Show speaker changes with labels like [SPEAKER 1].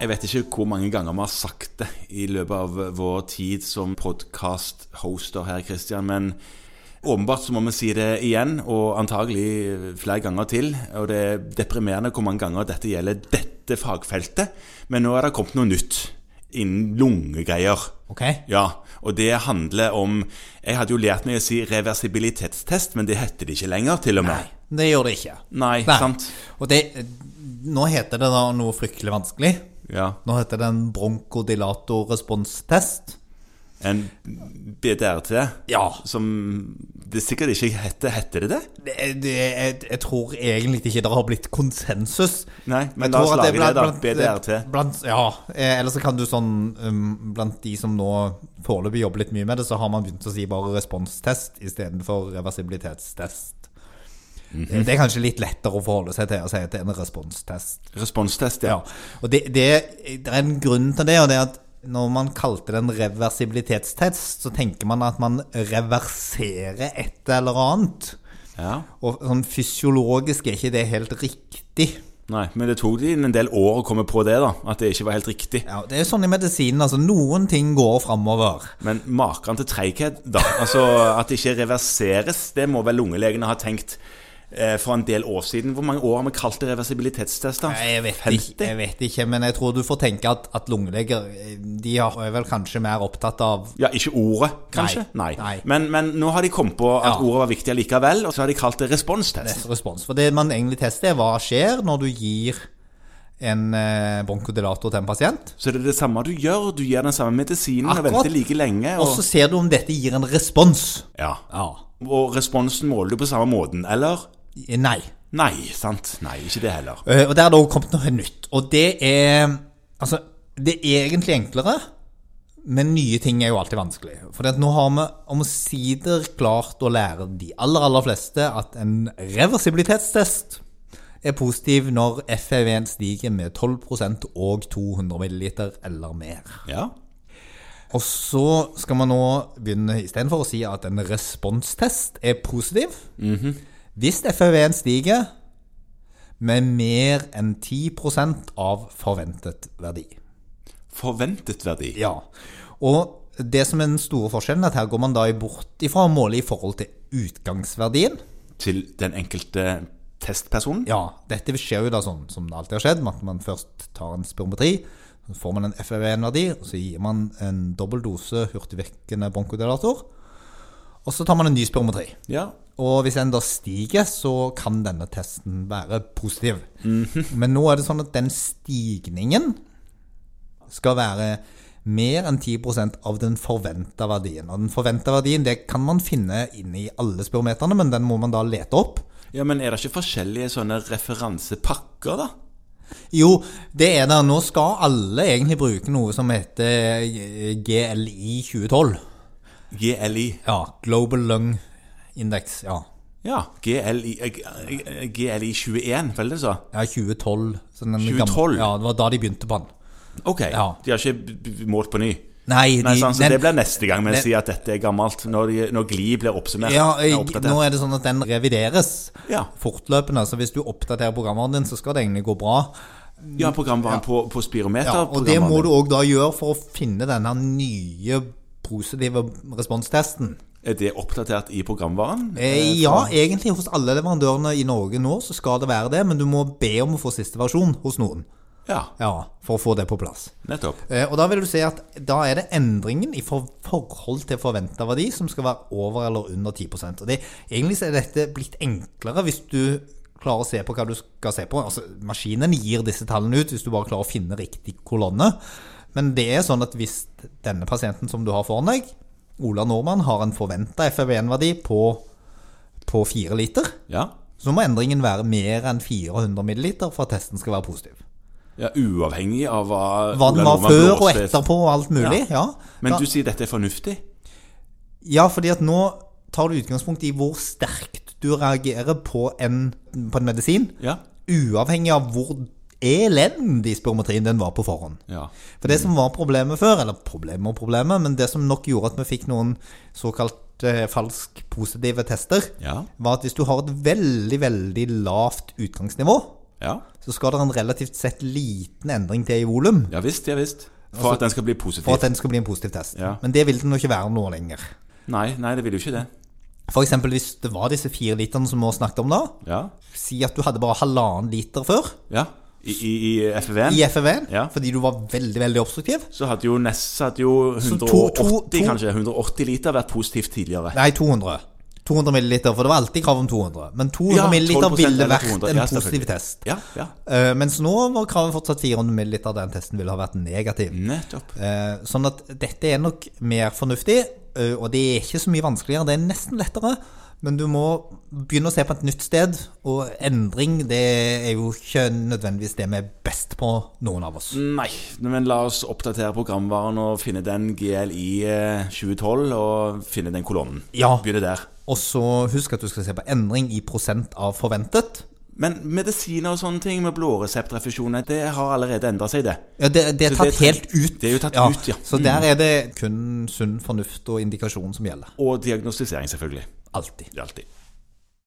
[SPEAKER 1] Jeg vet ikke hvor mange ganger vi har sagt det i løpet av vår tid som podcast-hoster her, Christian, men åpenbart så må vi si det igjen, og antagelig flere ganger til. Og det er deprimerende hvor mange ganger dette gjelder dette fagfeltet, men nå er det kommet noe nytt innen lungegreier.
[SPEAKER 2] Ok?
[SPEAKER 1] Ja, og det handler om Jeg hadde jo lært meg å si reversibilitetstest, men det heter det ikke lenger, til og
[SPEAKER 2] Nei,
[SPEAKER 1] med.
[SPEAKER 2] det gjør det ikke.
[SPEAKER 1] Nei,
[SPEAKER 2] Nei.
[SPEAKER 1] sant?
[SPEAKER 2] Og det, nå heter det da noe fryktelig vanskelig.
[SPEAKER 1] Ja.
[SPEAKER 2] Nå heter det en bronkodilator-responstest.
[SPEAKER 1] En BDRT,
[SPEAKER 2] Ja.
[SPEAKER 1] som det sikkert ikke heter. Heter det det?
[SPEAKER 2] Det, det, jeg, jeg tror egentlig ikke det har blitt konsensus.
[SPEAKER 1] Nei, men
[SPEAKER 2] Jeg
[SPEAKER 1] la oss
[SPEAKER 2] tror at
[SPEAKER 1] lage det,
[SPEAKER 2] er
[SPEAKER 1] da.
[SPEAKER 2] blant-
[SPEAKER 1] BDRT.
[SPEAKER 2] Blant, ja, eh, eller så kan du sånn um, Blant de som nå foreløpig jobber litt mye med det, så har man begynt å si bare responstest istedenfor reversibilitetstest.
[SPEAKER 1] Mhm.
[SPEAKER 2] Eh, Det er kanskje litt lettere å forholde seg til å si at det er en responstest.
[SPEAKER 1] Responstest,
[SPEAKER 2] Ja,
[SPEAKER 1] ja.
[SPEAKER 2] og det, det, det er en grunn til det, og det er at når man kalte det en reversibilitetstest, så tenker man at man reverserer et eller annet.
[SPEAKER 1] ja.
[SPEAKER 2] Og sånn fysiologisk er ikke det helt riktig.
[SPEAKER 1] Nei, men det tok de en del år å komme på det, da. At det ikke var helt riktig.
[SPEAKER 2] Ja, det er sånn i medisinen, altså noen ting går framover.
[SPEAKER 1] Men maken til treighet, da. Altså at det ikke reverseres, det må vel lungelegene ha tenkt eh, for en del år siden. Hvor mange år har vi kalt det reversibilitetstest, da?
[SPEAKER 2] Jeg vet, ikke, jeg vet ikke, men jeg tror du får tenke at, at lungeleger eh, de har- er vel kanskje mer opptatt av
[SPEAKER 1] Ja, ikke ordet, kanskje?
[SPEAKER 2] Nei. Nei.
[SPEAKER 1] Men, men nå har de kommet på at
[SPEAKER 2] Ja.
[SPEAKER 1] ordet var viktig allikevel, og så har de kalt det responstest.
[SPEAKER 2] neste respons. For det man egentlig tester, er hva skjer når du gir en eh, bronkodilator til en pasient.
[SPEAKER 1] Så det er det samme du gjør. Du gir den samme medisinen og
[SPEAKER 2] Akkurat.
[SPEAKER 1] venter like lenge.
[SPEAKER 2] Og
[SPEAKER 1] Og,
[SPEAKER 2] så ser du om dette gir en respons.
[SPEAKER 1] ja. og responsen måler du på samme måten, eller?
[SPEAKER 2] Eh, Nei.
[SPEAKER 1] Nei, sant? Nei, ikke det heller.
[SPEAKER 2] Eh, Og der er det også kommet noe nytt. Og det er Altså, det er egentlig enklere, men nye ting er jo alltid vanskelig. For at nå har vi omsider klart å lære de aller, aller fleste at en reversibilitetstest er positiv når FEV-en stiger med 12 og 200 ml eller mer.
[SPEAKER 1] Ja.
[SPEAKER 2] Og så skal man nå begynne istedenfor å si at en responstest er positiv. Hvis FEV-en stiger med mer enn 10 av forventet verdi.
[SPEAKER 1] Forventet verdi.
[SPEAKER 2] Ja. Og det som er den store forskjellen, er at her går man da i bort ifra å måle i forhold til utgangsverdien.
[SPEAKER 1] Til den enkelte testpersonen?
[SPEAKER 2] Ja, dette skjer jo da sånn som det alltid har skjedd, med at man først tar en spirometri, så får man en FEV1-verdi, og så gir man en dobbel dose hurtigvirkende bronkodilator, og så tar man en ny spirometri.
[SPEAKER 1] Ja.
[SPEAKER 2] Og hvis en da stiger, så kan denne testen være positiv. Men nå er det sånn at den stigningen skal være mer enn 10 av den forventa verdien. Og den forventa verdien det kan man finne inne i alle spirometerne, men den må man da lete opp.
[SPEAKER 1] Ja, men er det ikke forskjellige sånne referansepakker, da?
[SPEAKER 2] Jo, det er det. Nå skal alle egentlig bruke noe som heter eh, GLI 2012.
[SPEAKER 1] GLI.
[SPEAKER 2] Ja, Global Lung Index. Ja,
[SPEAKER 1] Ja, GLI, eh, GLI 21, vel det så?
[SPEAKER 2] ja 2012. så den
[SPEAKER 1] 2012?
[SPEAKER 2] ja, det var da de begynte på den.
[SPEAKER 1] Ok,
[SPEAKER 2] Ja.
[SPEAKER 1] de har ikke b- b- målt på ny.
[SPEAKER 2] Nei, de,
[SPEAKER 1] Nei, sant, så
[SPEAKER 2] den-
[SPEAKER 1] det blir neste gang vi
[SPEAKER 2] den-
[SPEAKER 1] sier at dette er gammelt, når, de, når GLI blir oppsummert.
[SPEAKER 2] ja,
[SPEAKER 1] er
[SPEAKER 2] jeg,
[SPEAKER 1] oppdatert.
[SPEAKER 2] nå er det sånn at den revideres
[SPEAKER 1] Ja.
[SPEAKER 2] fortløpende. Så hvis du oppdaterer programmeren din, så skal det egentlig gå bra.
[SPEAKER 1] ja programvaren på, på spirometer.
[SPEAKER 2] Ja, og det må du òg da gjøre for å finne denne nye positive responstesten.
[SPEAKER 1] Er det oppdatert i programvaren?
[SPEAKER 2] Eh, ja, egentlig hos alle leverandørene i Norge nå så skal det være det, men du må be om å få siste versjon hos noen.
[SPEAKER 1] Ja,
[SPEAKER 2] Ja, For å få det på plass.
[SPEAKER 1] nettopp.
[SPEAKER 2] Eh, og da vil du si at da er det endringen i for forhold til forventa verdi som skal være over eller under 10 Og det, Egentlig så er dette blitt enklere hvis du klarer å se på hva du skal se på. Altså, Maskinen gir disse tallene ut hvis du bare klarer å finne riktig kolonne. Men det er sånn at hvis denne pasienten som du har foran deg, Ola Nordmann, har en forventa FEV1-verdi på, på 4 liter,
[SPEAKER 1] Ja.
[SPEAKER 2] så må endringen være mer enn 400 milliliter for at testen skal være positiv.
[SPEAKER 1] ja, uavhengig av hva
[SPEAKER 2] Hva den
[SPEAKER 1] Ola
[SPEAKER 2] var
[SPEAKER 1] Nordmann
[SPEAKER 2] før og
[SPEAKER 1] blåste.
[SPEAKER 2] etterpå og alt mulig. ja.
[SPEAKER 1] Men
[SPEAKER 2] Da-
[SPEAKER 1] du sier dette er fornuftig?
[SPEAKER 2] Ja, fordi at nå tar du utgangspunkt i hvor sterkt du reagerer på en, på en medisin,
[SPEAKER 1] Ja.
[SPEAKER 2] uavhengig av hvor elendig spirometrien den var på forhånd.
[SPEAKER 1] Ja.
[SPEAKER 2] For det som var problemet før, eller problemet og problemet, men det som nok gjorde at vi fikk noen såkalt eh, falsk positive tester,
[SPEAKER 1] Ja.
[SPEAKER 2] var at hvis du har et veldig, veldig lavt utgangsnivå,
[SPEAKER 1] Ja,
[SPEAKER 2] så skal det en relativt sett liten endring til i volum
[SPEAKER 1] ja visst, ja visst. For at den skal bli positiv.
[SPEAKER 2] Altså, for at den skal bli en positiv test.
[SPEAKER 1] Ja.
[SPEAKER 2] Men det vil den jo ikke være nå lenger.
[SPEAKER 1] Nei, nei, det vil jo ikke det.
[SPEAKER 2] F.eks. hvis det var disse fire literne som vi har snakket om da.
[SPEAKER 1] Ja.
[SPEAKER 2] Si at du hadde bare halvannen liter før
[SPEAKER 1] ja. I, i, i FVN
[SPEAKER 2] i FEV-en
[SPEAKER 1] Ja.
[SPEAKER 2] fordi du var veldig, veldig obstruktiv.
[SPEAKER 1] så hadde jo nesten hadde jo 180,
[SPEAKER 2] to- to- to-
[SPEAKER 1] kanskje 180 liter vært positivt tidligere.
[SPEAKER 2] Nei, 200. 200 milliliter, for det var alltid krav om 200. Men 200
[SPEAKER 1] Ja, 12%
[SPEAKER 2] milliliter ville
[SPEAKER 1] eller
[SPEAKER 2] vært
[SPEAKER 1] 200,
[SPEAKER 2] en
[SPEAKER 1] ja,
[SPEAKER 2] positiv
[SPEAKER 1] selvfølgelig.
[SPEAKER 2] test.
[SPEAKER 1] Ja, ja.
[SPEAKER 2] Eh, mens nå var kravet fortsatt 400 milliliter. Den testen ville ha vært negativ.
[SPEAKER 1] Nettopp.
[SPEAKER 2] Eh, sånn at dette er nok mer fornuftig, eh, og det er ikke så mye vanskeligere. Det er nesten lettere, men du må begynne å se på et nytt sted. Og endring det er jo ikke nødvendigvis det vi er best på, noen av oss.
[SPEAKER 1] Nei, men la oss oppdatere programvaren og finne den GLI eh, 2012 og finne den kolonnen.
[SPEAKER 2] Ja,
[SPEAKER 1] Begynne der.
[SPEAKER 2] Og så husk at du skal se på endring i prosent av forventet.
[SPEAKER 1] Men medisiner og sånne ting med blåreseptrefusjoner, det har allerede endra seg, det.
[SPEAKER 2] Ja, det, det er
[SPEAKER 1] Så det
[SPEAKER 2] tatt
[SPEAKER 1] er
[SPEAKER 2] helt
[SPEAKER 1] tatt-
[SPEAKER 2] ut.
[SPEAKER 1] det er jo tatt ut, ja. Mm.
[SPEAKER 2] Så der er det kun sunn fornuft og indikasjon som gjelder.
[SPEAKER 1] Og diagnostisering, selvfølgelig.
[SPEAKER 2] Alltid.
[SPEAKER 1] Alltid.